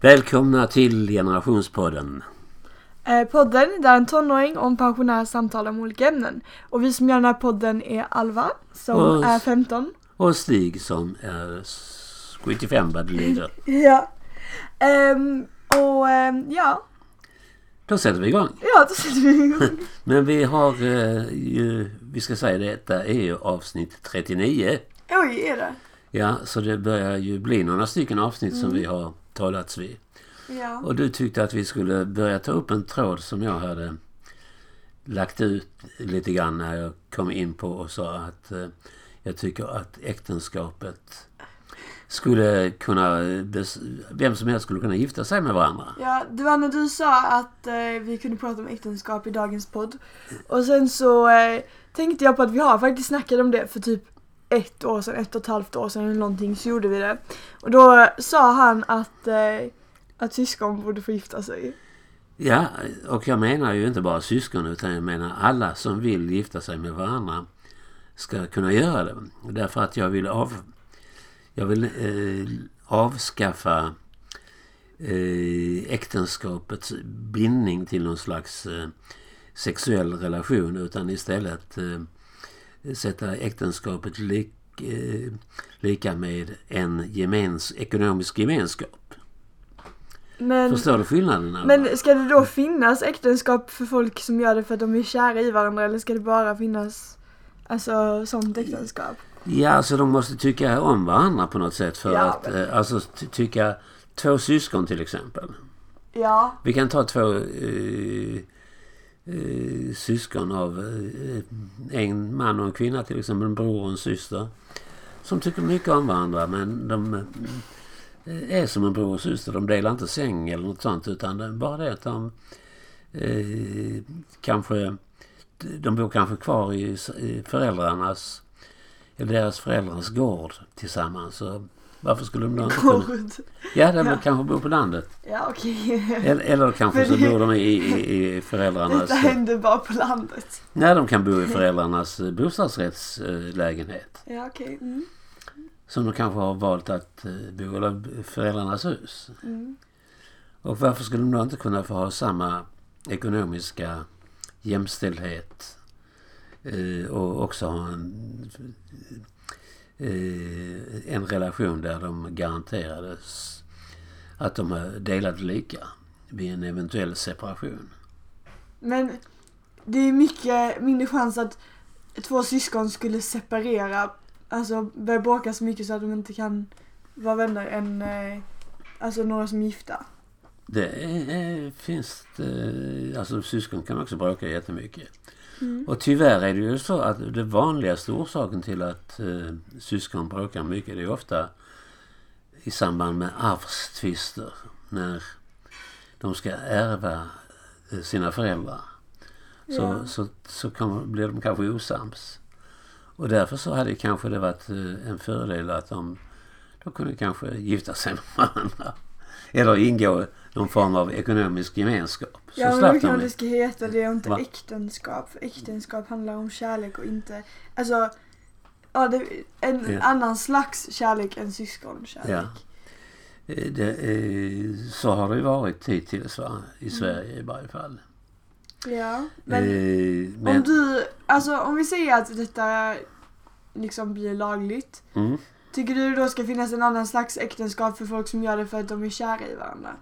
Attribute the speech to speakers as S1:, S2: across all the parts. S1: Välkomna till Generationspodden.
S2: Eh, podden där en tonåring och en pensionär samtalar om olika ämnen. Och vi som gör den här podden är Alva som
S1: Och-
S2: är 15.
S1: Och Stig som är s- 75 vad det lider.
S2: Ja. Ehm, och ehm, ja,
S1: Då sätter vi igång.
S2: ja då sitter vi igång.
S1: Men vi har eh, ju, vi ska säga detta är ju avsnitt 39.
S2: Oj, är det?
S1: Ja, så det börjar ju bli några stycken avsnitt som vi har talats vid.
S2: Ja.
S1: Och du tyckte att vi skulle börja ta upp en tråd som jag hade lagt ut lite grann när jag kom in på och sa att eh, jag tycker att äktenskapet skulle kunna, bes- vem som helst skulle kunna gifta sig med varandra.
S2: Ja, det var när du sa att eh, vi kunde prata om äktenskap i dagens podd. Och sen så eh, tänkte jag på att vi har faktiskt snackat om det för typ ett år sedan, ett och ett halvt år sedan eller någonting så gjorde vi det. Och då sa han att, eh, att syskon borde få gifta sig.
S1: Ja, och jag menar ju inte bara syskon utan jag menar alla som vill gifta sig med varandra ska kunna göra det. Därför att jag vill av... Jag vill eh, avskaffa eh, äktenskapets bindning till någon slags eh, sexuell relation utan istället eh, sätta äktenskapet lik, eh, lika med en gemens, ekonomisk gemenskap.
S2: Men,
S1: Förstår Mm. du skillnaden? Alva?
S2: men ska det då finnas äktenskap för folk som gör det för att de är kära i varandra eller ska det bara finnas alltså sånt äktenskap?
S1: Ja, alltså de måste tycka om varandra på något sätt för
S2: Ja,
S1: att
S2: men-
S1: eh, alltså, ty- tycka två syskon till exempel.
S2: Ja.
S1: Vi kan ta två eh, eh, syskon av eh, en man och en kvinna till exempel, en bror och en syster. Som tycker mycket om varandra men de eh, är som en bror och syster. De delar inte säng eller något sånt utan det är bara det att de eh, kanske de bor kanske kvar i s- i föräldrarnas eller deras föräldrars gård tillsammans. Så varför skulle de då inte kunna...
S2: Gud.
S1: Ja, de
S2: Ja.
S1: kanske bor på landet.
S2: Ja okej.
S1: Eller, eller kanske så
S2: Men det-
S1: bor de i, i, i föräldrarnas...
S2: Detta händer bara på landet.
S1: Nej, de kan bo i föräldrarnas eh, bostadsrättslägenhet.
S2: Ja, okej.
S1: Som de kanske har valt att eh, bo eller föräldrarnas hus.
S2: Mm.
S1: Och varför skulle de då inte kunna få ha samma ekonomiska jämställdhet eh, och också ha en, eh, en relation där de garanterades att de är delade lika vid en eventuell separation?
S2: Men det är mycket mindre chans att två syskon skulle separera, alltså börja bråka så mycket så att de inte kan vara vänner än eh, alltså några som är gifta.
S1: Det är, är, finns det, alltså syskon kan också bråka jättemycket. Och tyvärr är det ju så att det vanligaste orsaken till att eh, syskon bråkar mycket det är ofta i samband med arvstvister. När de ska ärva eh, sina föräldrar. Så,
S2: Ja.
S1: så, så kommer, blir de kanske osams. Och därför så hade kanske det varit eh, en fördel att de då kunde kanske gifta sig med varandra. Eller ingå någon form av ekonomisk gemenskap. Så
S2: ja, men
S1: slapp de
S2: då kanske det ska heta det och inte
S1: Va?
S2: äktenskap. För äktenskap handlar om kärlek och inte, alltså, ja, det, en
S1: Ja.
S2: annan slags kärlek än syskonkärlek.
S1: Ja. Eh, Det, eh, så har det ju varit hittills va? i Sverige i varje fall.
S2: ja Mm. men
S1: eh,
S2: Om du, alltså om vi säger att detta liksom blir lagligt.
S1: mm,
S2: Tycker du då ska finnas en annan slags äktenskap för folk som gör det för att de är kära i varandra?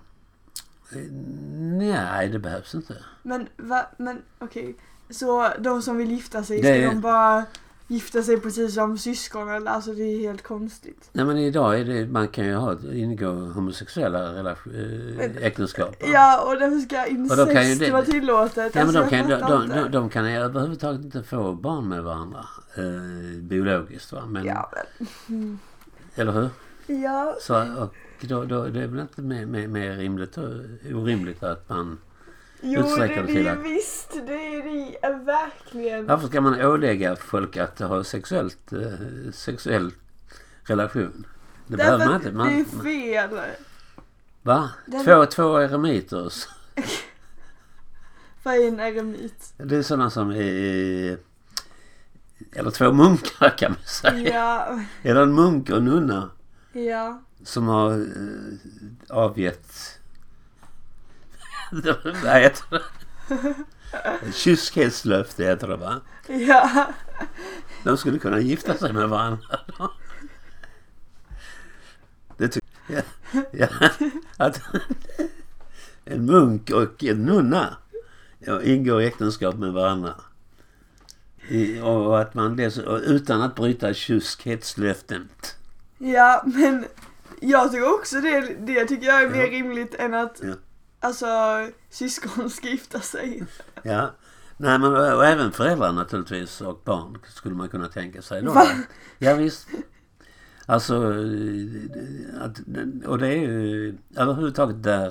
S1: eh, nej, det behövs inte.
S2: Men va, men okej. Så de som vill gifta sig,
S1: Det är-
S2: ska de bara gifta sig precis som syskon eller? Alltså det är helt konstigt.
S1: Nej men idag är det, man kan ju ha, ingå homosexuella relation,
S2: Men-
S1: eh, äktenskap. va?
S2: Ja, och därför ska
S1: då kan ju
S2: incest
S1: det-
S2: vara tillåtet.
S1: Ja, men de,
S2: alltså, jag
S1: kan, de,
S2: fattar
S1: de,
S2: inte.
S1: de, de kan ju överhuvudtaget inte få barn med varandra. Eh, biologiskt va? Men,
S2: Ja, men,
S1: Mm. Eller hur?
S2: ja.
S1: Så, och då, då, det är väl inte mer, mer, mer rimligt, eh, orimligt att man...
S2: Jo, det
S1: Utsträcker
S2: är
S1: det
S2: det
S1: till
S2: ju
S1: att-
S2: visst. Det är det är verkligen.
S1: Varför ska man ålägga folk att ha sexuellt, eh, sexuell relation? Det
S2: Därför
S1: behöver man
S2: att
S1: inte. Man,
S2: det är fel.
S1: va?
S2: Den-
S1: Två, två eremiter.
S2: Vad är en eremit?
S1: Det är sådana som är... Eller två munkar kan man säga.
S2: Ja,
S1: Eller en munk och en nunna.
S2: Ja.
S1: som har eh, avgett... Vad heter det? Kyskhetslöfte heter det va?
S2: Ja.
S1: De skulle kunna gifta sig med varandra. då. Det tycker jag. Ja, att en munk och en nunna ja, ingår äktenskap med varandra. I, och att man dess, och utan att bryta kyskhetslöftet.
S2: Ja, men jag tycker också det, det tycker jag är mer rimligt än att
S1: Ja.
S2: alltså syskon ska gifta sig.
S1: Ja. Nej, men och och även föräldrar naturligtvis och barn skulle man kunna tänka sig då.
S2: Va?
S1: Ja, visst. Alltså, eh, att, och det är ju överhuvudtaget där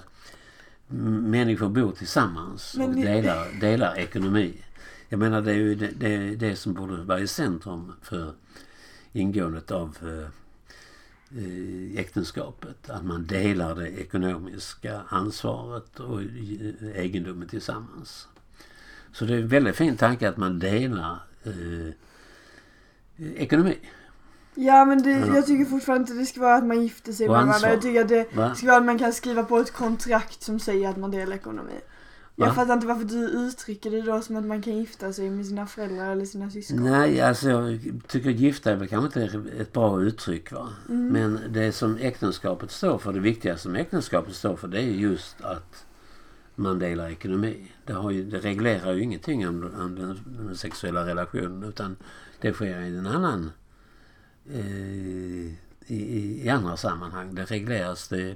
S1: m- människor bor tillsammans och
S2: Men ni-
S1: delar, delar ekonomi. Jag menar det är ju det, det, är det som borde vara i centrum för ingåendet av eh, eh, äktenskapet. Att man delar det ekonomiska ansvaret och eh, egendomen tillsammans. Så det är en väldigt fin tanke att man delar eh, ekonomi.
S2: Ja men det,
S1: Ja.
S2: jag tycker fortfarande inte det ska vara att man gifter sig
S1: Och
S2: med varandra.
S1: ansvar.
S2: Jag tycker att det
S1: Va?
S2: ska vara att man kan skriva på ett kontrakt som säger att man delar ekonomi. Jag
S1: Va?
S2: fattar inte varför du uttrycker det då som att man kan gifta sig med sina föräldrar eller sina syskon.
S1: Nej, alltså jag tycker gifta är väl kanske inte ett bra uttryck. Va?
S2: Mm.
S1: Men det som äktenskapet står för, det viktigaste som äktenskapet står för, det är just att man delar ekonomi. Det, har ju, det reglerar ju ingenting om, om den, den sexuella relationen utan det sker i en annan... Eh, i, i, I andra sammanhang. Det regleras det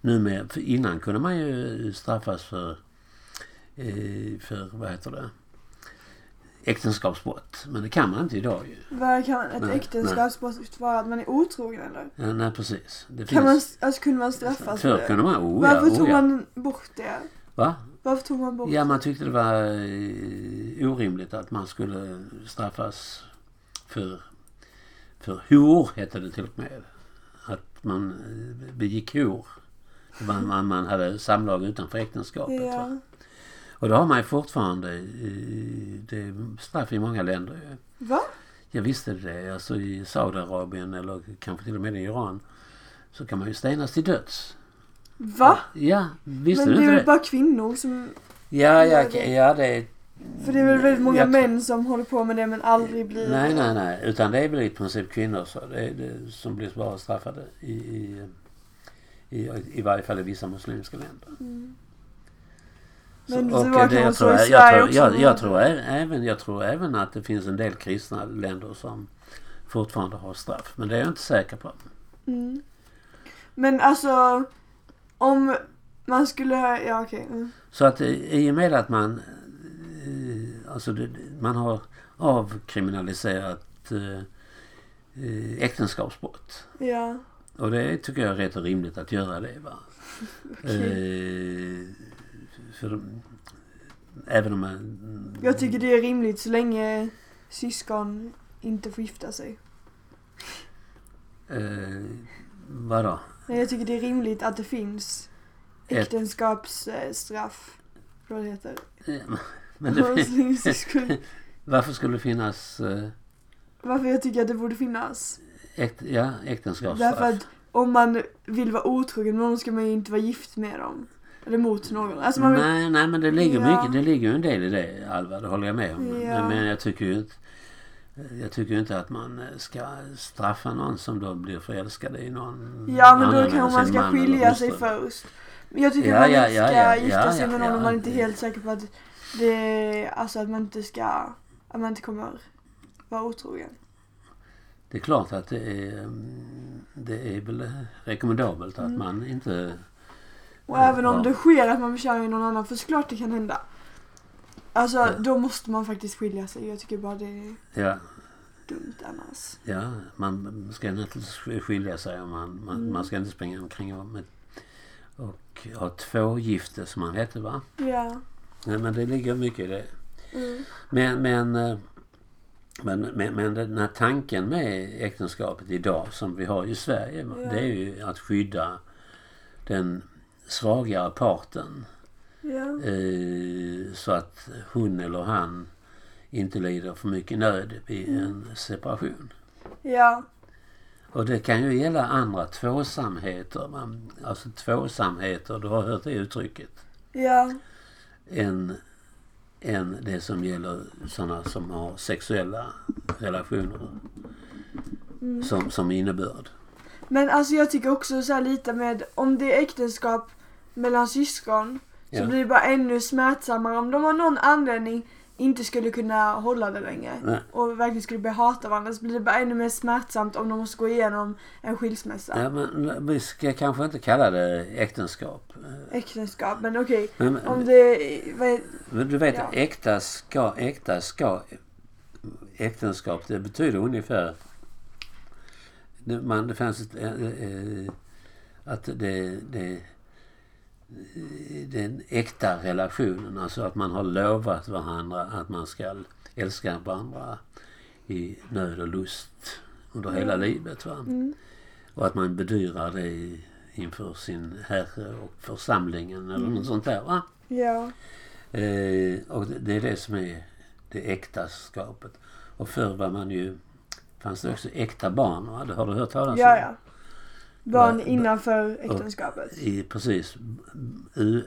S1: numera. För innan kunde man ju straffas för, eh, för vad heter det? äktenskapsbrott. Men det kan man inte idag ju.
S2: Vad kan ett
S1: Nej,
S2: äktenskapsbrott vara? Att man är otrogen eller?
S1: Ja, nej, precis. Det
S2: Kan man,
S1: finns...
S2: alltså, kunde man straffas
S1: Förr kunde man... Oh, ja,
S2: Varför
S1: oh,
S2: tog
S1: ja.
S2: man bort det?
S1: Va?
S2: Varför tog man bort
S1: Ja, man tyckte det var eh, orimligt att man skulle straffas för, för hor, hette det till och med. Att man eh, begick hor. Det var- Man, man hade samlag utanför
S2: det?
S1: äktenskapet. va?
S2: Ja.
S1: Och det har man ju fortfarande. eh, Det är straff i många länder ju.
S2: Va?
S1: Jag visste det. Alltså i Saudiarabien eller kanske till och med i Iran så kan man ju stenas till döds.
S2: Va?
S1: Ja, visste du
S2: Men det
S1: inte
S2: är
S1: det?
S2: väl bara kvinnor som...
S1: Ja, ja,
S2: Ja, det-
S1: ja, det är...
S2: För det är väl väldigt många
S1: Mm, Jag tror-
S2: män som håller på med det men aldrig blir...
S1: Nej, nej, nej. Utan det är väl i princip kvinnor så det är det som blir bara straffade i, i, i, i varje fall i vissa muslimska länder.
S2: Mm.
S1: Så-
S2: Men det
S1: och
S2: var kanske
S1: det
S2: så
S1: tror
S2: i
S1: jag, jag,
S2: Sverige
S1: tror,
S2: också,
S1: jag,
S2: men-
S1: jag, tror ä- även, jag tror även att det finns en del kristna länder som fortfarande har straff. Men det är jag inte säker på.
S2: Mm. Men alltså... Om man skulle... Ja okej. Mm.
S1: Så att eh, i och med att man, eh, alltså det, man har avkriminaliserat eh, eh, äktenskapsbrott.
S2: Ja.
S1: Och det tycker jag är rätt och rimligt att göra det. Va? Eh, för, de- även om man...
S2: Jag tycker det är rimligt så länge syskon inte får gifta sig.
S1: Eh, vadå?
S2: Men jag tycker det är rimligt att det finns
S1: Ett-
S2: äktenskapsstraff. Vad det heter.
S1: Eh, Men
S2: För
S1: det,
S2: muslimsyskon.
S1: varför skulle det finnas eh,
S2: Varför jag tycker att det borde finnas.
S1: äkt, ja, äktenskapsstraff?
S2: Därför att om man vill vara otrogen med någon ska man ju inte vara gift med dem. Eller mot någon. Alltså man vill...
S1: Nej, nej, men det ligger,
S2: Ja.
S1: mycket, det ligger ju en del i det, Alva. Det håller jag med om. Men-
S2: Ja.
S1: Men jag tycker ju inte... Jag tycker ju inte att man eh, ska straffa någon som då blir förälskad i någon
S2: Ja men
S1: annan
S2: då
S1: än
S2: kanske man
S1: sin
S2: ska
S1: man eller
S2: skilja sig
S1: hustru.
S2: först. Men jag tycker
S1: Ja,
S2: att man
S1: ja,
S2: inte
S1: ja,
S2: ska
S1: ja,
S2: gifta
S1: ja,
S2: sig med
S1: ja,
S2: någon om
S1: ja.
S2: man inte är helt säker på att det... Alltså att man inte ska... Att man inte kommer vara otrogen.
S1: Det är klart att det är, det är väl rekommendabelt
S2: Mm.
S1: att man inte...
S2: Och
S1: Ja,
S2: även om
S1: Mm, ja.
S2: det sker att man blir kär i någon annan, för såklart det kan hända. Alltså
S1: Ja.
S2: då måste man faktiskt skilja sig. Jag tycker bara det är
S1: Ja,
S2: dumt annars.
S1: ja, man ska naturligtvis skilja sig. Och man, man,
S2: Mm.
S1: man ska inte springa omkring och, med, och ha två gifte som man hette va?
S2: Ja.
S1: Nej, men det ligger mycket i det.
S2: Mm.
S1: Men, men, eh, men, men, men den här tanken med äktenskapet idag som vi har i Sverige va,
S2: Ja.
S1: det är ju att skydda den svagare parten
S2: Ja.
S1: eh, så att hon eller han
S2: Mm.
S1: inte lider för mycket nöd vid en separation.
S2: Ja.
S1: Och det kan ju gälla andra tvåsamheter. Man, alltså tvåsamheter, du har hört det uttrycket.
S2: Ja.
S1: Än, än det som gäller sådana som har sexuella relationer
S2: Mm.
S1: som, som innebörd.
S2: Men alltså jag tycker också så här lite med om det är äktenskap mellan syskon
S1: Ja.
S2: så blir det bara ännu smärtsammare om de av någon anledning inte skulle kunna hålla det längre
S1: Nej.
S2: och verkligen skulle börja hata varandra så blir det bara ännu mer smärtsamt om de måste gå igenom en skilsmässa.
S1: Ja, men vi ska kanske inte kalla det äktenskap. Eh,
S2: Äktenskap, men okej.
S1: Men,
S2: Om det... Vad är,
S1: men du vet,
S2: ja.
S1: äkta ska, äkta ska, äktenskap, det betyder ungefär... Det, man, det fanns ett... eh, eh, att det, det, den äkta relationen, alltså att man har lovat varandra att man ska älska varandra i nöd och lust under hela livet. Va?
S2: mm,
S1: Och att man bedyrar det inför sin herre och församlingen eller
S2: Mm.
S1: något sånt där. Va?
S2: ja.
S1: Eh, och det det är det som är det äktaskapet. Och förr var man ju, fanns det också äkta barn. Va? Det har du hört talas om?
S2: ja, ja. Barn
S1: Nej,
S2: innanför äktenskapet.
S1: I, precis. U- Eh,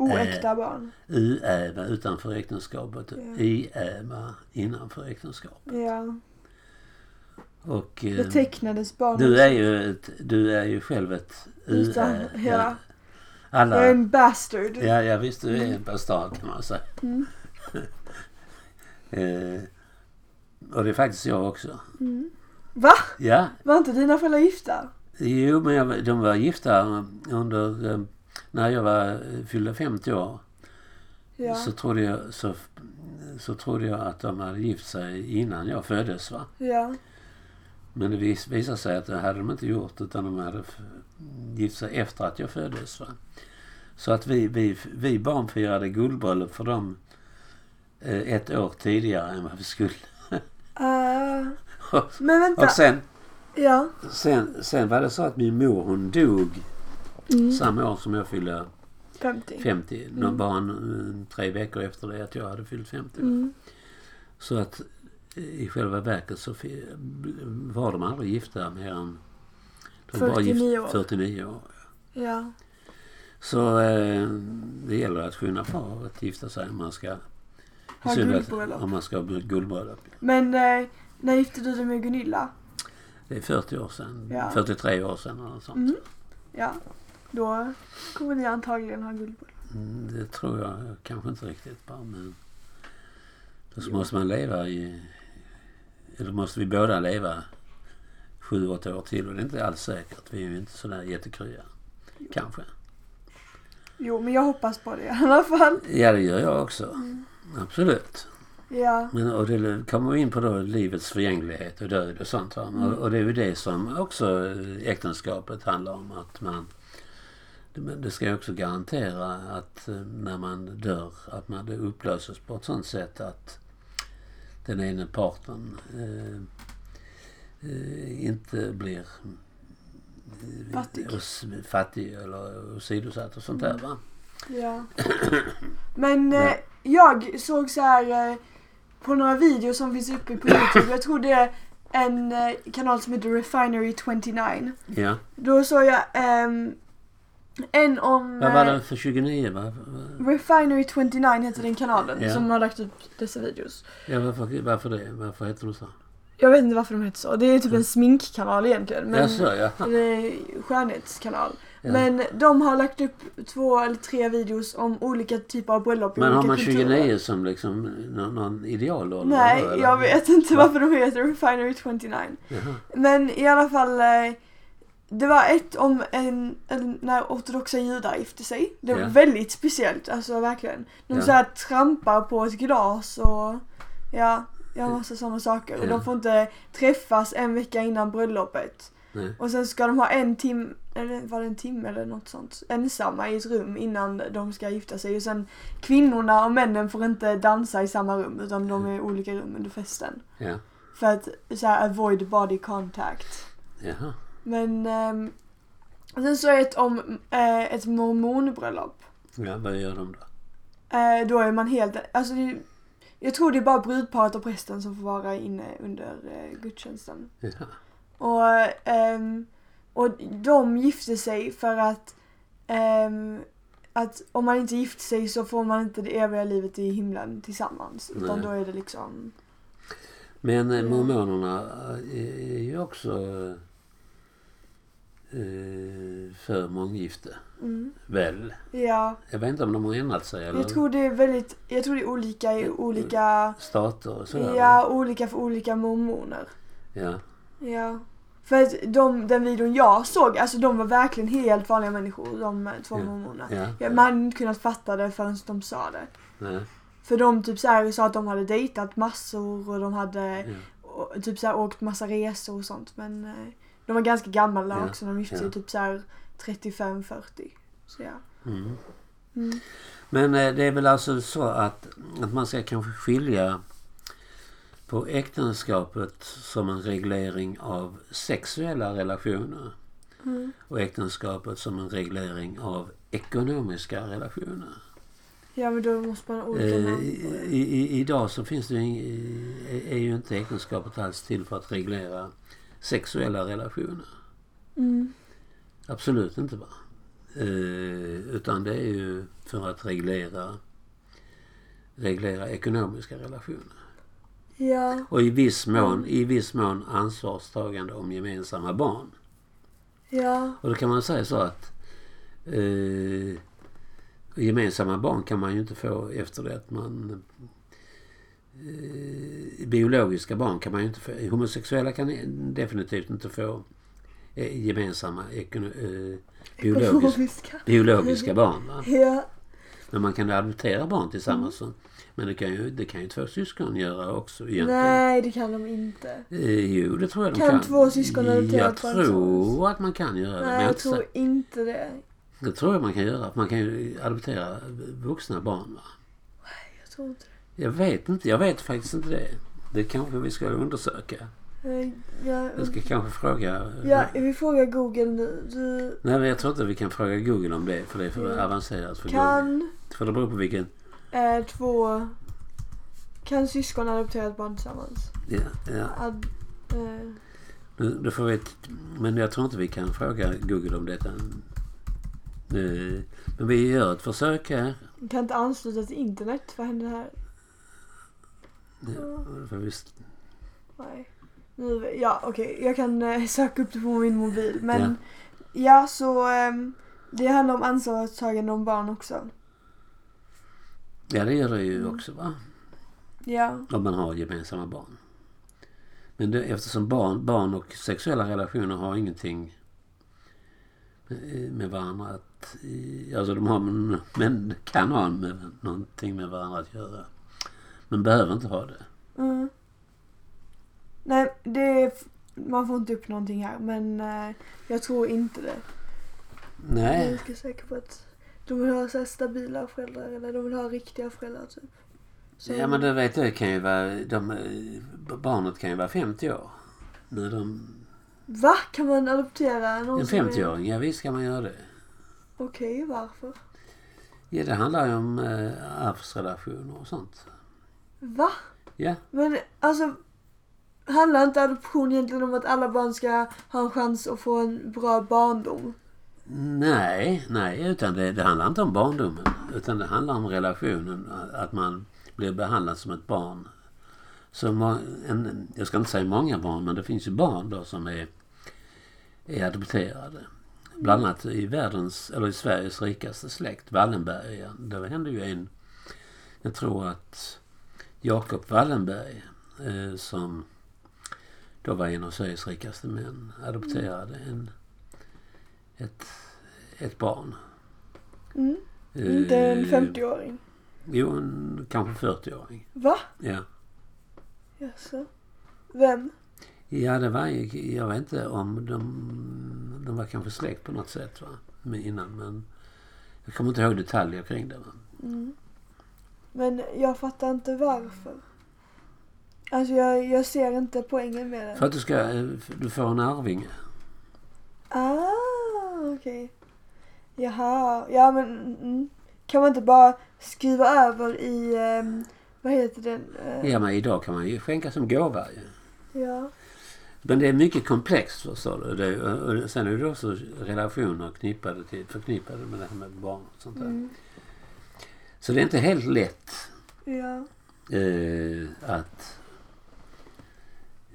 S2: Oäkta barn.
S1: uäva utanför äktenskapet.
S2: Ja.
S1: Iäva innanför äktenskap.
S2: Ja.
S1: Och eh,
S2: Det tecknades barn.
S1: du är ju, ett, du är ju själv ett
S2: Utan,
S1: uä.
S2: ja.
S1: Alla,
S2: Jag är en bastard.
S1: Ja, ja visst du är en bastard kan man säga.
S2: Mm.
S1: eh, och det är faktiskt jag också.
S2: Mm. Va?
S1: Ja,
S2: Var inte dina föräldrar gifta?
S1: jo men jag, de var gifta under, eh, när jag var, eh, fyllde 50 år.
S2: Ja.
S1: Så, trodde jag, så, så trodde jag att de hade gift sig innan jag föddes va.
S2: ja.
S1: Men det vis, visade sig att det hade de inte gjort utan de hade f- gift sig efter att jag föddes. Va? Så att vi, vi, vi barn firade guldbröllop för dem eh, ett år tidigare än vad vi skulle.
S2: Ah.
S1: Och,
S2: men vänta.
S1: och sen,
S2: Ja.
S1: sen, sen var det så att min mor hon dog
S2: Mm.
S1: samma år som jag fyllde
S2: 50.
S1: 50. nå- Bara en, en, eh, tre veckor efter det att jag hade fyllt 50.
S2: Mm.
S1: Så att eh, i själva verket så fi- var de aldrig gifta mer än... De var
S2: 49 år.
S1: 49 år.
S2: Ja.
S1: Så eh, det gäller att skynda på att gifta sig om man ska...
S2: Ha
S1: i synnerhet
S2: guldbröllop.
S1: Om man ska ha guldbröllop.
S2: Men eh, när gifte du dig med Gunilla?
S1: Det är 40 år sedan.
S2: Ja.
S1: 43 år sedan eller något sånt.
S2: Mm. Ja. Då kommer ni antagligen ha guldbröllop.
S1: Mm, Det tror jag kanske inte riktigt. Bara, men då så
S2: Jo.
S1: måste man leva i... Eller måste vi båda leva sju, åtta år till. Och det är inte alls säkert. Vi är ju inte sådär jättekrya.
S2: Jo.
S1: Kanske.
S2: Jo, men jag hoppas på det i alla fall.
S1: Ja, det gör jag också. Absolut.
S2: Ja.
S1: Men, och det kommer vi in på då livets förgänglighet och död och sånt. va?
S2: Mm.
S1: Och, och det är ju det som också eh, äktenskapet handlar om. Att man, det- men det ska ju också garantera att eh, när man dör att man det upplöses på ett sånt sätt att den ene parten eh, eh, inte blir eh,
S2: Fattig. Mm.
S1: os- fattig eller åsidosatt och sånt där va.
S2: Ja. Men
S1: Ja.
S2: eh, jag såg så här eh, på några videor som finns uppe på Youtube. Jag tror det är en eh, kanal som heter Refinery29.
S1: Ja.
S2: Då såg jag ehm, en om...
S1: Vad var
S2: eh,
S1: det för 29 va?
S2: Refinery29 heter den kanalen
S1: Ja.
S2: som har lagt upp dessa videos.
S1: Ja, varför, varför det? Varför heter de så?
S2: Jag vet inte varför de heter så. Det är typ
S1: Mm.
S2: en sminkkanal egentligen. Men
S1: Jaså, ja.
S2: en eh, skönhetskanal.
S1: Ja.
S2: Men de har lagt upp två eller tre videos om olika typer av bröllop i
S1: Men har
S2: olika
S1: man
S2: kulturer.
S1: 29 som liksom någon, någon idealålder?
S2: Nej,
S1: då, eller?
S2: jag vet inte
S1: Va?
S2: varför de heter Refinery29.
S1: Jaha.
S2: Men i alla fall, eh, det var ett om en, en när ortodoxa judar gifte sig. Det var
S1: Ja.
S2: väldigt speciellt, alltså verkligen. De
S1: Ja.
S2: så här trampar på ett glas och ja, jag massa sådana saker. Och
S1: Ja.
S2: de får inte träffas en vecka innan bröllopet.
S1: Nej.
S2: Och sen ska de ha en timme, eller var det en timme eller något sånt, ensamma i ett rum innan de ska gifta sig. Och sen kvinnorna och männen får inte dansa i samma rum utan de är i olika rum under festen.
S1: Ja.
S2: För att så här, avoid body contact.
S1: Jaha.
S2: Men ehm, sen så är det ett om eh, ett mormonbröllop.
S1: Ja, vad gör de då?
S2: Eh, då är man helt, alltså det, jag tror det är bara brudparet och prästen som får vara inne under eh, gudstjänsten.
S1: Jaha.
S2: Och, ehm, och de gifte sig för att, ehm, att om man inte gifter sig så får man inte det eviga livet i himlen tillsammans. Utan
S1: Nej.
S2: då är det liksom...
S1: Men eh,
S2: Ja.
S1: mormonerna är är ju också eh, för månggifte.
S2: Mm,
S1: Väl?
S2: ja,
S1: Jag vet inte om de har ändrat sig eller Mm.
S2: jag tror det är väldigt, jag tror det är olika i olika,
S1: stater och sådär.
S2: ja olika för olika mormoner.
S1: ja.
S2: Ja. För att de, den videon jag såg, alltså de var verkligen helt vanliga människor, de eh, två
S1: Ja.
S2: mormonerna.
S1: ja.
S2: Ja, man hade inte kunnat fatta det förrän de sa det.
S1: Nej.
S2: För de typ så här sa att de hade dejtat massor och de hade
S1: Ja.
S2: å- typ så här, åkt massa resor och sånt. Men eh, de var ganska gamla
S1: Ja,
S2: också, de gifte
S1: ja.
S2: sig typ så här 35-40. Så ja.
S1: Mm.
S2: Mm.
S1: Men eh, det är väl alltså så att, att man ska kanske skilja på äktenskapet som en reglering av sexuella relationer
S2: Mm.
S1: och äktenskapet som en reglering av ekonomiska relationer.
S2: Ja men då måste man ha olika
S1: Eh,
S2: namn på
S1: i,
S2: det.
S1: i, idag så finns det ju, ing- är ju inte äktenskapet alls till för att reglera sexuella relationer.
S2: Mm.
S1: Absolut inte va? Eh, utan det är ju för att reglera, reglera ekonomiska relationer.
S2: Ja.
S1: Och i viss, mån, i viss mån ansvarstagande om gemensamma barn.
S2: Ja.
S1: Och då kan man säga så att eh, gemensamma barn kan man ju inte få efter det att man... Eh, biologiska barn kan man ju inte få. Homosexuella kan definitivt inte få eh, gemensamma ekono, eh, biologiska,
S2: Ekonomiska.
S1: biologiska barn. Va?
S2: Ja.
S1: Men man kan adoptera barn tillsammans. Men det kan, ju, det kan ju två syskon göra också egentligen.
S2: Nej det kan de inte.
S1: Eh, jo, det tror jag de
S2: Kan
S1: kan.
S2: två syskon adoptera
S1: Jag
S2: ett barn tillsammans?
S1: tror att man kan göra det. men
S2: Nej
S1: jag är
S2: jag
S1: inte säker.
S2: tror inte det.
S1: Det tror jag man kan göra. Man kan ju adoptera vuxna barn. Va?
S2: Jag tror inte
S1: Jag vet inte. Jag vet faktiskt inte det. Det kanske vi ska undersöka.
S2: det. Eh, Ja,
S1: Jag ska kanske fråga...
S2: ja, vi frågar Google nu. Du
S1: Nej, men jag tror inte vi kan fråga Google om det. För det är för
S2: Ja.
S1: avancerat för Google.
S2: Mm. kan...
S1: För det beror på vilken...
S2: Eh, två... Kan syskon adoptera ett barn tillsammans?
S1: Ja, ja.
S2: Ad, eh,
S1: Nu, då får vi ett, men jag tror inte vi kan fråga Google om detta. Eh, Men vi gör ett försök här.
S2: kan inte ansluta till internet. Vad händer här?
S1: Ja, då får vi s-
S2: Nej. Nu, ja, okej. Jag kan eh, söka upp det på min mobil. Men
S1: Ja.
S2: ja, så ehm, det handlar om ansvarstagande om barn också.
S1: Ja, det gör det ju också va?
S2: Ja.
S1: Om man har gemensamma barn. Men det, eftersom barn, barn och sexuella relationer har ingenting eh, med varandra att... eh, Alltså de har, men- men kan ha med, någonting med varandra att göra. Men behöver inte ha det.
S2: Mm. Nej, det är, f- man får inte upp någonting här. Men eh, jag tror inte det. Jag är
S1: Nej,
S2: ganska säker på att de vill ha så här stabila föräldrar eller de vill ha riktiga föräldrar typ. Så-
S1: Ja men du vet det kan ju vara, de, eh, barnet kan ju vara 50 år. När de,
S2: Va? Kan man adoptera någon
S1: en
S2: som är-
S1: 50-åring, ja visst kan man göra det.
S2: Okej, varför?
S1: Ja, det handlar ju om eh, arvsrelationer och sånt.
S2: Va?
S1: Ja,
S2: Men alltså, handlar inte adoption egentligen om att alla barn ska ha en chans att få en bra barndom?
S1: nej, nej, utan det, det handlar inte om barndomen. Utan det handlar om relationen, att man blir behandlad som ett barn. Så må- en, jag ska inte säga många barn, men det finns ju barn då som är, är adopterade. Bland annat i världens, eller i Sveriges rikaste släkt, Wallenberg. Det hände ju en, jag tror att Jakob Wallenberg, eh, som då var en av Sveriges rikaste män, adopterade en, ett, ett barn.
S2: Mm.
S1: Eh,
S2: Inte en 50-åring.
S1: Jo, en, kanske 40-åring.
S2: Va?
S1: Ja.
S2: Jaså? Vem?
S1: Ja, det var ju, jag vet inte om de, de var kanske släkt på något sätt va? Med innan, men jag kommer inte ihåg detaljer kring det. Va?
S2: Mm. Men jag fattar inte varför. Alltså jag, jag ser inte poängen med det.
S1: För att du ska, eh, du får en arvinge.
S2: Ah, okej. Jaha, ja men mm. kan man inte bara skriva över i, ehm, vad heter den? Eh,
S1: Ja, men idag kan man ju skänka som gåva ju.
S2: ja.
S1: Men det är mycket komplext förstår du. Det, är- och sen är det också relationer knippade till, förknippade med det här med barn och sånt där.
S2: Mm.
S1: Så det är inte helt lätt
S2: Ja.
S1: eh, att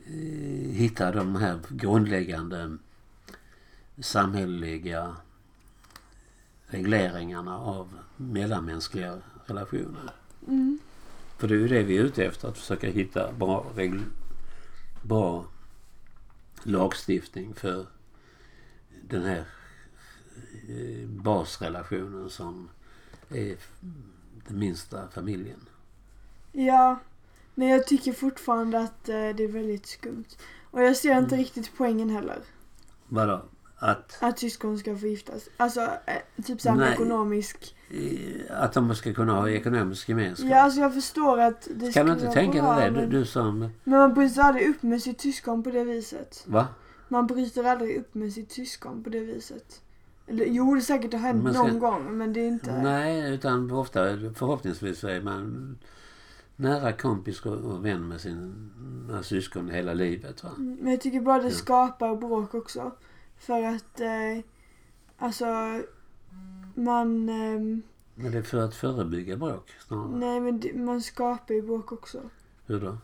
S1: eh, hitta de här grundläggande samhälleliga regleringarna av mellanmänskliga relationer.
S2: Mm.
S1: För det är ju det vi är ute efter, att försöka hitta bra, regl- bra lagstiftning för den här eh, basrelationen som är f- den minsta familjen.
S2: Ja, men jag tycker fortfarande att eh, det är väldigt skumt. Och jag ser inte riktigt poängen heller.
S1: Vadå? Att,
S2: Att syskon ska få giftas. Alltså, eh, typ såhär
S1: Nej.
S2: ekonomisk.
S1: eh, att de ska kunna ha ekonomisk gemenskap.
S2: Ja, alltså jag förstår att det
S1: kan
S2: skulle
S1: du inte
S2: vara
S1: tänka
S2: bra,
S1: dig det? Du,
S2: men-
S1: du som...
S2: Men man bryter aldrig upp med sitt syskon på det viset.
S1: Va?
S2: Man bryter aldrig upp med sitt syskon på det viset. Eller, jo, det är säkert har hänt
S1: Men ska-
S2: någon gång, men det är inte...
S1: Nej, utan ofta, förhoppningsvis så är man nära kompis och- och vän med sina syskon hela livet. Va?
S2: Mm, Men jag tycker bara det
S1: Ja.
S2: skapar bråk också. För att, eh, alltså, man... ehm,
S1: Men det är för att förebygga bråk snarare.
S2: Nej men det, man skapar ju bråk också.
S1: Hur då?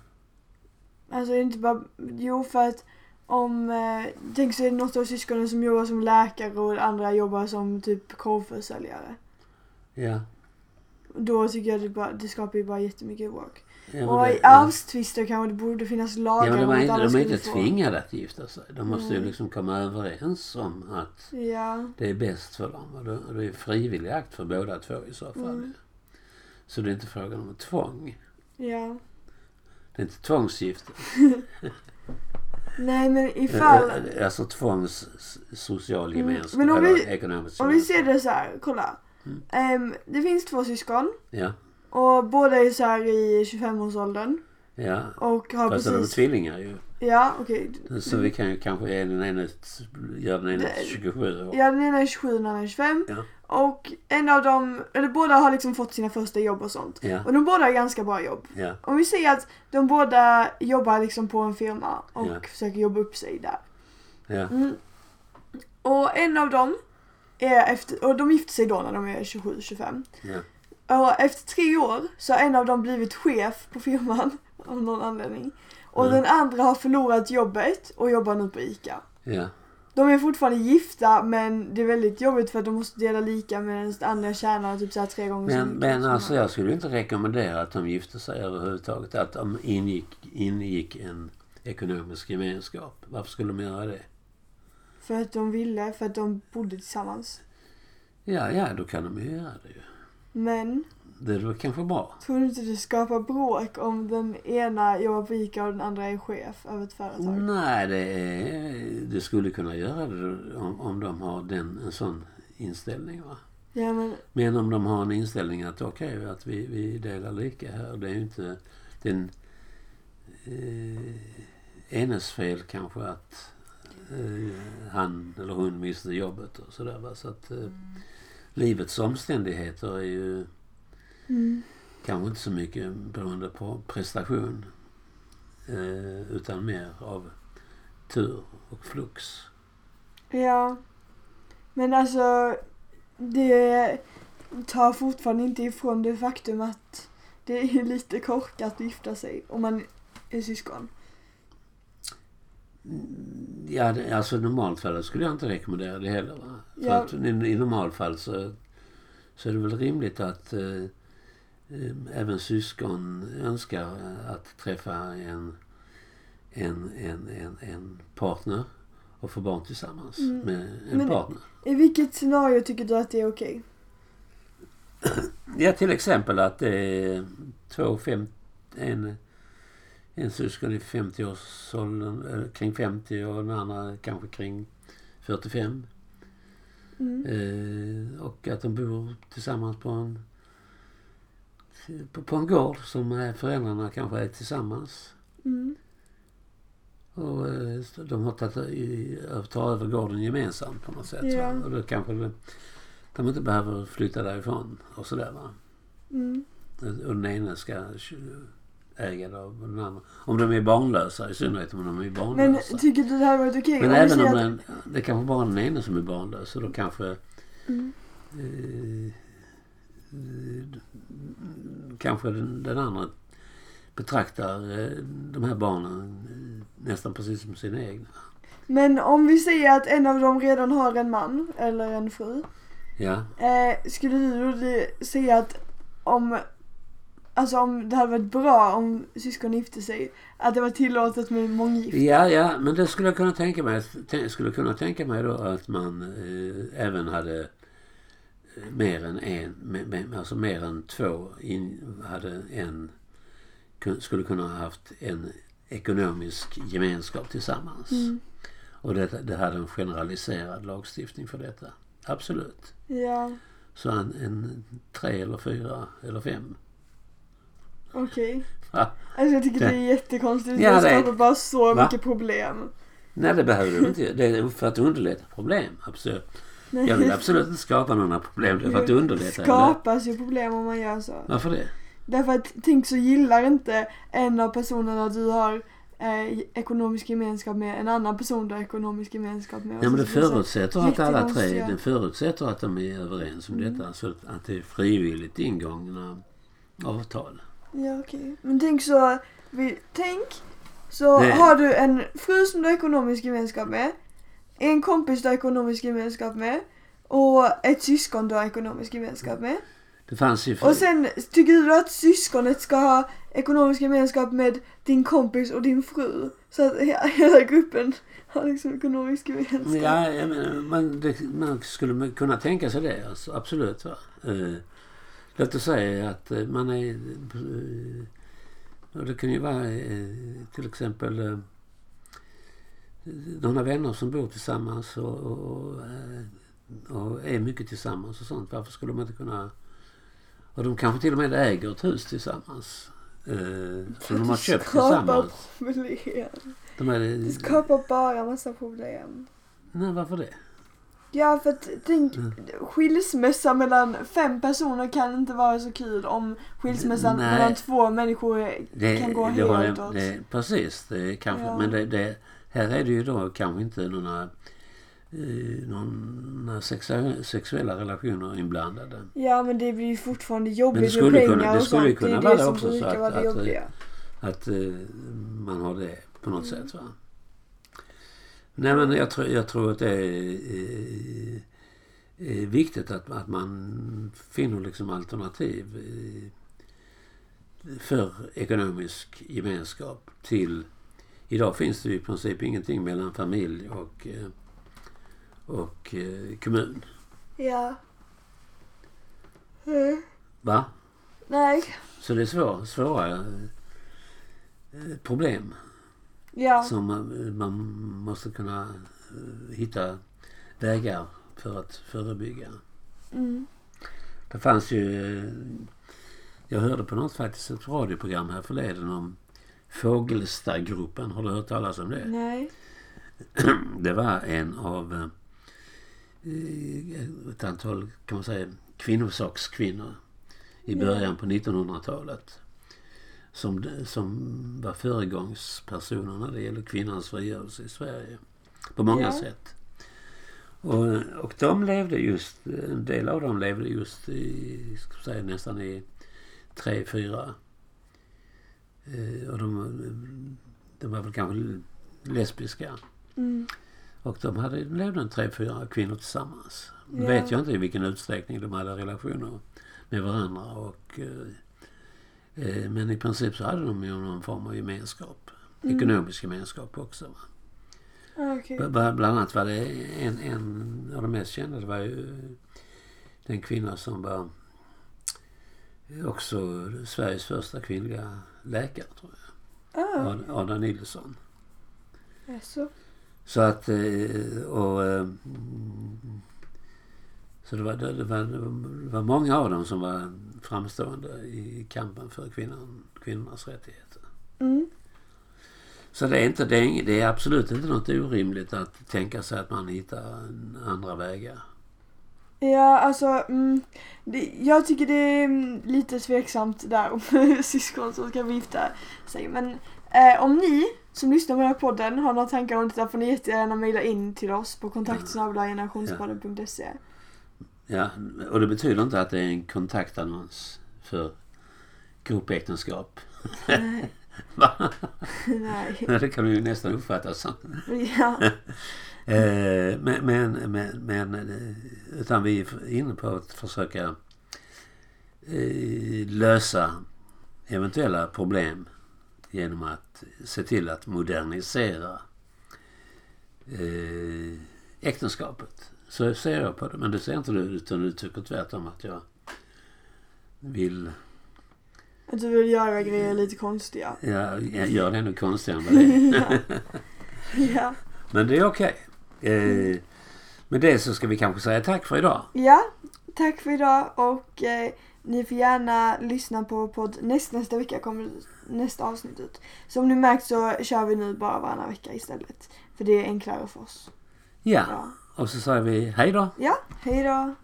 S2: Alltså det är inte bara, jo för att om, eh, tänk så är det något av syskonen som jobbar som läkare och andra jobbar som typ korvförsäljare.
S1: Ja.
S2: Då tycker jag det, bara, det skapar ju bara jättemycket bråk.
S1: ja
S2: och i arvstvister kanske det borde finnas
S1: ja,
S2: lagar
S1: men de är
S2: att
S1: inte,
S2: alla
S1: de är inte
S2: alltså, skulle få-
S1: tvingade att gifta sig. De måste ju
S2: Nej.
S1: liksom komma överens om att
S2: Ja,
S1: det är bäst för dem. Och det, och det är frivillig akt för båda två i så fall.
S2: Mm.
S1: Så det är inte frågan om ett tvång.
S2: ja.
S1: Det är inte tvångsgifte.
S2: Nej men ifall,
S1: Eh, eh, Alltså tvångs s- social
S2: Mm.
S1: gemenskap.
S2: Men om
S1: eller
S2: vi-
S1: ekonomisk
S2: om vi
S1: gemenskap.
S2: ser det så här, kolla.
S1: Mm.
S2: Ehm, det finns två syskon
S1: Ja.
S2: och båda är så här i 25-årsåldern.
S1: ja.
S2: Och har
S1: Fast de är
S2: precis... Mm.
S1: tvillingar ju.
S2: Ja, okej.
S1: Så vi kan ju kanske ge den ena ett, göra den ena
S2: Det-
S1: ett 27 år.
S2: Ja, den ena är 27 den andra är 25.
S1: Ja.
S2: Och en av dem, eller båda har liksom fått sina första jobb och sånt.
S1: Ja.
S2: Och de båda har ganska bra jobb.
S1: Ja.
S2: Om vi säger att de båda jobbar liksom på en firma och
S1: Ja.
S2: försöker jobba upp sig där.
S1: Ja.
S2: Mm. Och en av dem är efter, och de gifte sig då när de är 27-25.
S1: Ja.
S2: Och efter tre år så har en av dem blivit chef på firman av någon anledning. Och
S1: Mm.
S2: den andra har förlorat jobbet och jobbar nu på ICA.
S1: Ja.
S2: De är fortfarande gifta men det är väldigt jobbigt för att de måste dela lika medan den andra tjänar typ så här tre gånger så
S1: Men,
S2: mycket.
S1: men
S2: som
S1: alltså
S2: han.
S1: jag skulle inte rekommendera att de gifte sig överhuvudtaget. Att de ingick, ingick en ekonomisk gemenskap. Varför skulle de göra det?
S2: För att de ville, för att de bodde tillsammans.
S1: Ja, ja, då kan de ju göra det ju.
S2: Men
S1: Det var kanske bra.
S2: tror du inte det skapar bråk om den ena jobbar på ICA och den andra är chef över ett företag?
S1: Nej, det, är, det skulle kunna göra det om, om de har den, en sån inställning. Va?
S2: Ja men,
S1: Men om de har en inställning att okej, att vi, vi delar lika här. Det är ju inte den eh, enes fel kanske att eh, han eller hon miste jobbet och sådär. va. Så att eh, livets omständigheter är ju
S2: mm.
S1: kanske inte så mycket beroende på prestation. Eh, utan mer av tur och flux.
S2: ja. Men alltså, det tar fortfarande inte ifrån det faktum att det är lite korkat att gifta sig om man är syskon.
S1: Mm, Ja, det- alltså i normalfallet skulle jag inte rekommendera det heller. Va? För
S2: Ja.
S1: att i, i normalfall så, så är det väl rimligt att eh, eh, även syskon önskar eh, att träffa en, en, en, en, en partner och få barn tillsammans
S2: Mm.
S1: med en
S2: Men-
S1: partner.
S2: I vilket scenario tycker du att det är okej?
S1: Ja, till exempel att det är två, fem, en, en syskon i 50-årsåldern, eller kring 50 och den andra kanske kring 45.
S2: Mm.
S1: Eh, och att de bor tillsammans på en, på, på en gård som eh, föräldrarna kanske är tillsammans.
S2: Mm.
S1: Och eh, så de har tagit, i- tar över gården gemensamt på något sätt. va.
S2: Ja.
S1: Och då kanske de, de inte behöver flytta därifrån och sådär va.
S2: Mm.
S1: Och den ene ska k- ägare av den andra. Om de är barnlösa, i synnerhet om de är
S2: Men
S1: barnlösa.
S2: tycker du det här varit okej?
S1: Men
S2: vi
S1: även
S2: säger
S1: om
S2: att-
S1: den, det är kanske bara den ena som är barnlös så då kanske...
S2: Mm.
S1: Eh, eh, kanske den, den andra betraktar eh, de här barnen eh, nästan precis som sina egna.
S2: Men om vi säger att en av dem redan har en man eller en fru.
S1: Ja,
S2: Eh, skulle du då det- säga att om, alltså om det hade varit bra om syskon gifte sig, att det var tillåtet med månggifte?
S1: ja, ja men det skulle jag kunna tänka mig. Tän- skulle jag kunna tänka mig då att man eh, även hade eh, mer än en, me- me- alltså mer än två in, hade en, kun- skulle kunna ha haft en ekonomisk gemenskap tillsammans.
S2: Mm.
S1: Och det, det hade en generaliserad lagstiftning för detta. Absolut.
S2: Ja,
S1: Så en, en tre eller fyra eller fem.
S2: okej.
S1: Va?
S2: Alltså jag tycker det,
S1: Det-
S2: är jättekonstigt.
S1: Ja,
S2: det
S1: det är-
S2: skapar bara så
S1: Va?
S2: mycket problem.
S1: Nej, det behöver du inte. Det är för att underlätta problem. Absolut.
S2: Nej,
S1: Jag vill absolut inte skapa några problem. Det är för att
S2: det
S1: underlätta. eller?
S2: skapas ju problem om man gör så.
S1: Varför det?
S2: Alltså, Därför att tänk så gillar inte en av personerna du har eh, ekonomisk gemenskap med en annan person du har ekonomisk gemenskap med.
S1: Ja, men det
S2: Och så blir så-
S1: förutsätter att alla tre
S2: jättekonstiga.
S1: det förutsätter att de är överens om detta. Så att- att det är frivilligt ingångna avtal.
S2: Ja okej. Men tänk så, vi, tänk så
S1: Nej.
S2: har du en fru som du har ekonomisk gemenskap med, en kompis du har ekonomisk gemenskap med och ett syskon du har ekonomisk gemenskap med.
S1: Det fanns ju...
S2: Och sen tycker du att syskonet ska ha ekonomisk gemenskap med din kompis och din fru. Så att he- hela gruppen har liksom ekonomisk gemenskap.
S1: Ja, jag menar, man, det, man skulle kunna tänka sig det. Alltså, absolut. Va? Eh, låt oss säga att eh, man är... Eh, och det kan ju vara eh, till exempel eh, några vänner som bor tillsammans och, och, eh, och är mycket tillsammans och sånt. Varför skulle de inte kunna... Och de kanske till och med äger ett hus tillsammans. Eh, som de har köpt
S2: Skapar
S1: tillsammans.
S2: problem.
S1: De är,
S2: Det skapar bara massa problem.
S1: nej, varför det?
S2: Ja för att tänk,
S1: Mm.
S2: skilsmässa mellan fem personer kan inte vara så kul om skilsmässan
S1: Nej.
S2: mellan två människor är-
S1: Det,
S2: kan gå
S1: det
S2: helt
S1: har jag-
S2: åt.
S1: det, Precis, det är kanske,
S2: Ja.
S1: men det, det, här är det ju då kanske inte några, eh, några sexu- sexuella relationer inblandade.
S2: Ja men det blir ju fortfarande jobbigt
S1: Men det skulle
S2: med
S1: kunna-
S2: pengar
S1: det
S2: och
S1: skulle ju
S2: sånt. Det
S1: kunna
S2: är
S1: vara
S2: det som
S1: också så
S2: brukar
S1: att-
S2: vara det
S1: att-
S2: jobbiga.
S1: Att eh, man har det på något sätt. Va? Nej men jag, tror- jag tror att det är, eh, är viktigt att, att man finner liksom alternativ eh, för ekonomisk gemenskap till... Idag finns det ju i princip ingenting mellan familj och, eh, och eh, kommun.
S2: Ja. Mm.
S1: Va?
S2: Nej.
S1: Så det är svår, svåra eh, problem.
S2: Ja.
S1: som man, man måste kunna eh, hitta vägar för att förebygga.
S2: Mm.
S1: Det fanns ju... eh, Jag hörde på något faktiskt ett radioprogram här förleden om Fågelstagruppen. Har du hört talas om det?
S2: Nej.
S1: Det var en av eh, ett antal, kan man säga, kvinnosakskvinnor i början på 1900-talet. Som, som var föregångspersoner när det gäller kvinnans frigörelse i Sverige. På många
S2: Ja.
S1: sätt. Och, och de levde just, en del av dem levde just i, ska jag säga, nästan i tre, fyra. Eh, och de, de var väl kanske lesbiska.
S2: Mm.
S1: Och de hade, levde en tre, fyra kvinnor tillsammans. Nu
S2: Ja.
S1: vet jag inte i vilken utsträckning de hade relationer med varandra. Och, eh, eh, men i princip så hade de ju någon form av gemenskap.
S2: Mm.
S1: Ekonomisk gemenskap också. Va?
S2: Ah, Okej.
S1: B- b- Bland annat var det en, en av de mest kända, det var ju den kvinna som var också Sveriges första kvinnliga läkare, tror jag.
S2: Ah.
S1: Ad- Ada Nilsson.
S2: Jaså.
S1: Så att... eh, Och, eh, mm, så det var, det, det, var, det var många av dem som var framstående i kampen för kvinnan, kvinnornas rättigheter.
S2: Mm.
S1: Så det är, inte, det, är, ing- det är absolut inte något orimligt att tänka sig att man hittar andra vägar.
S2: Ja, alltså mm, det, jag tycker det är mm, lite tveksamt där om syskon som ska gifta sig. Men eh, om ni som lyssnar på den här podden har några tankar om detta får ni jättegärna mejla in till oss på kontaktsnabelagenerationspodden.se.
S1: Ja, och det betyder inte att det är en kontaktannons för gropäktenskap.
S2: Nej.
S1: Va?
S2: Eh, Nej.
S1: Det kan du ju nästan uppfatta som.
S2: Ja.
S1: Eh, men, men, men, men, eh, utan vi är inne på att försöka eh, lösa eventuella problem genom att se till att modernisera eh, äktenskapet. Så ser jag på det. Men det ser inte du, utan du tycker tvärtom att jag vill
S2: Att du vill göra grejer lite konstiga.
S1: Ja, jag gör det ännu konstigare än vad det är.
S2: ja. ja.
S1: Men det är okej. Eh, med det så ska vi kanske säga tack för idag.
S2: Ja, tack för idag och eh, ni får gärna lyssna på podd näst, nästa vecka kommer nästa avsnitt ut. Som ni märkt så kör vi nu bara varannan vecka istället. För det är enklare för oss.
S1: Ja,
S2: Ja,
S1: och så säger vi hej då.
S2: ja hej då!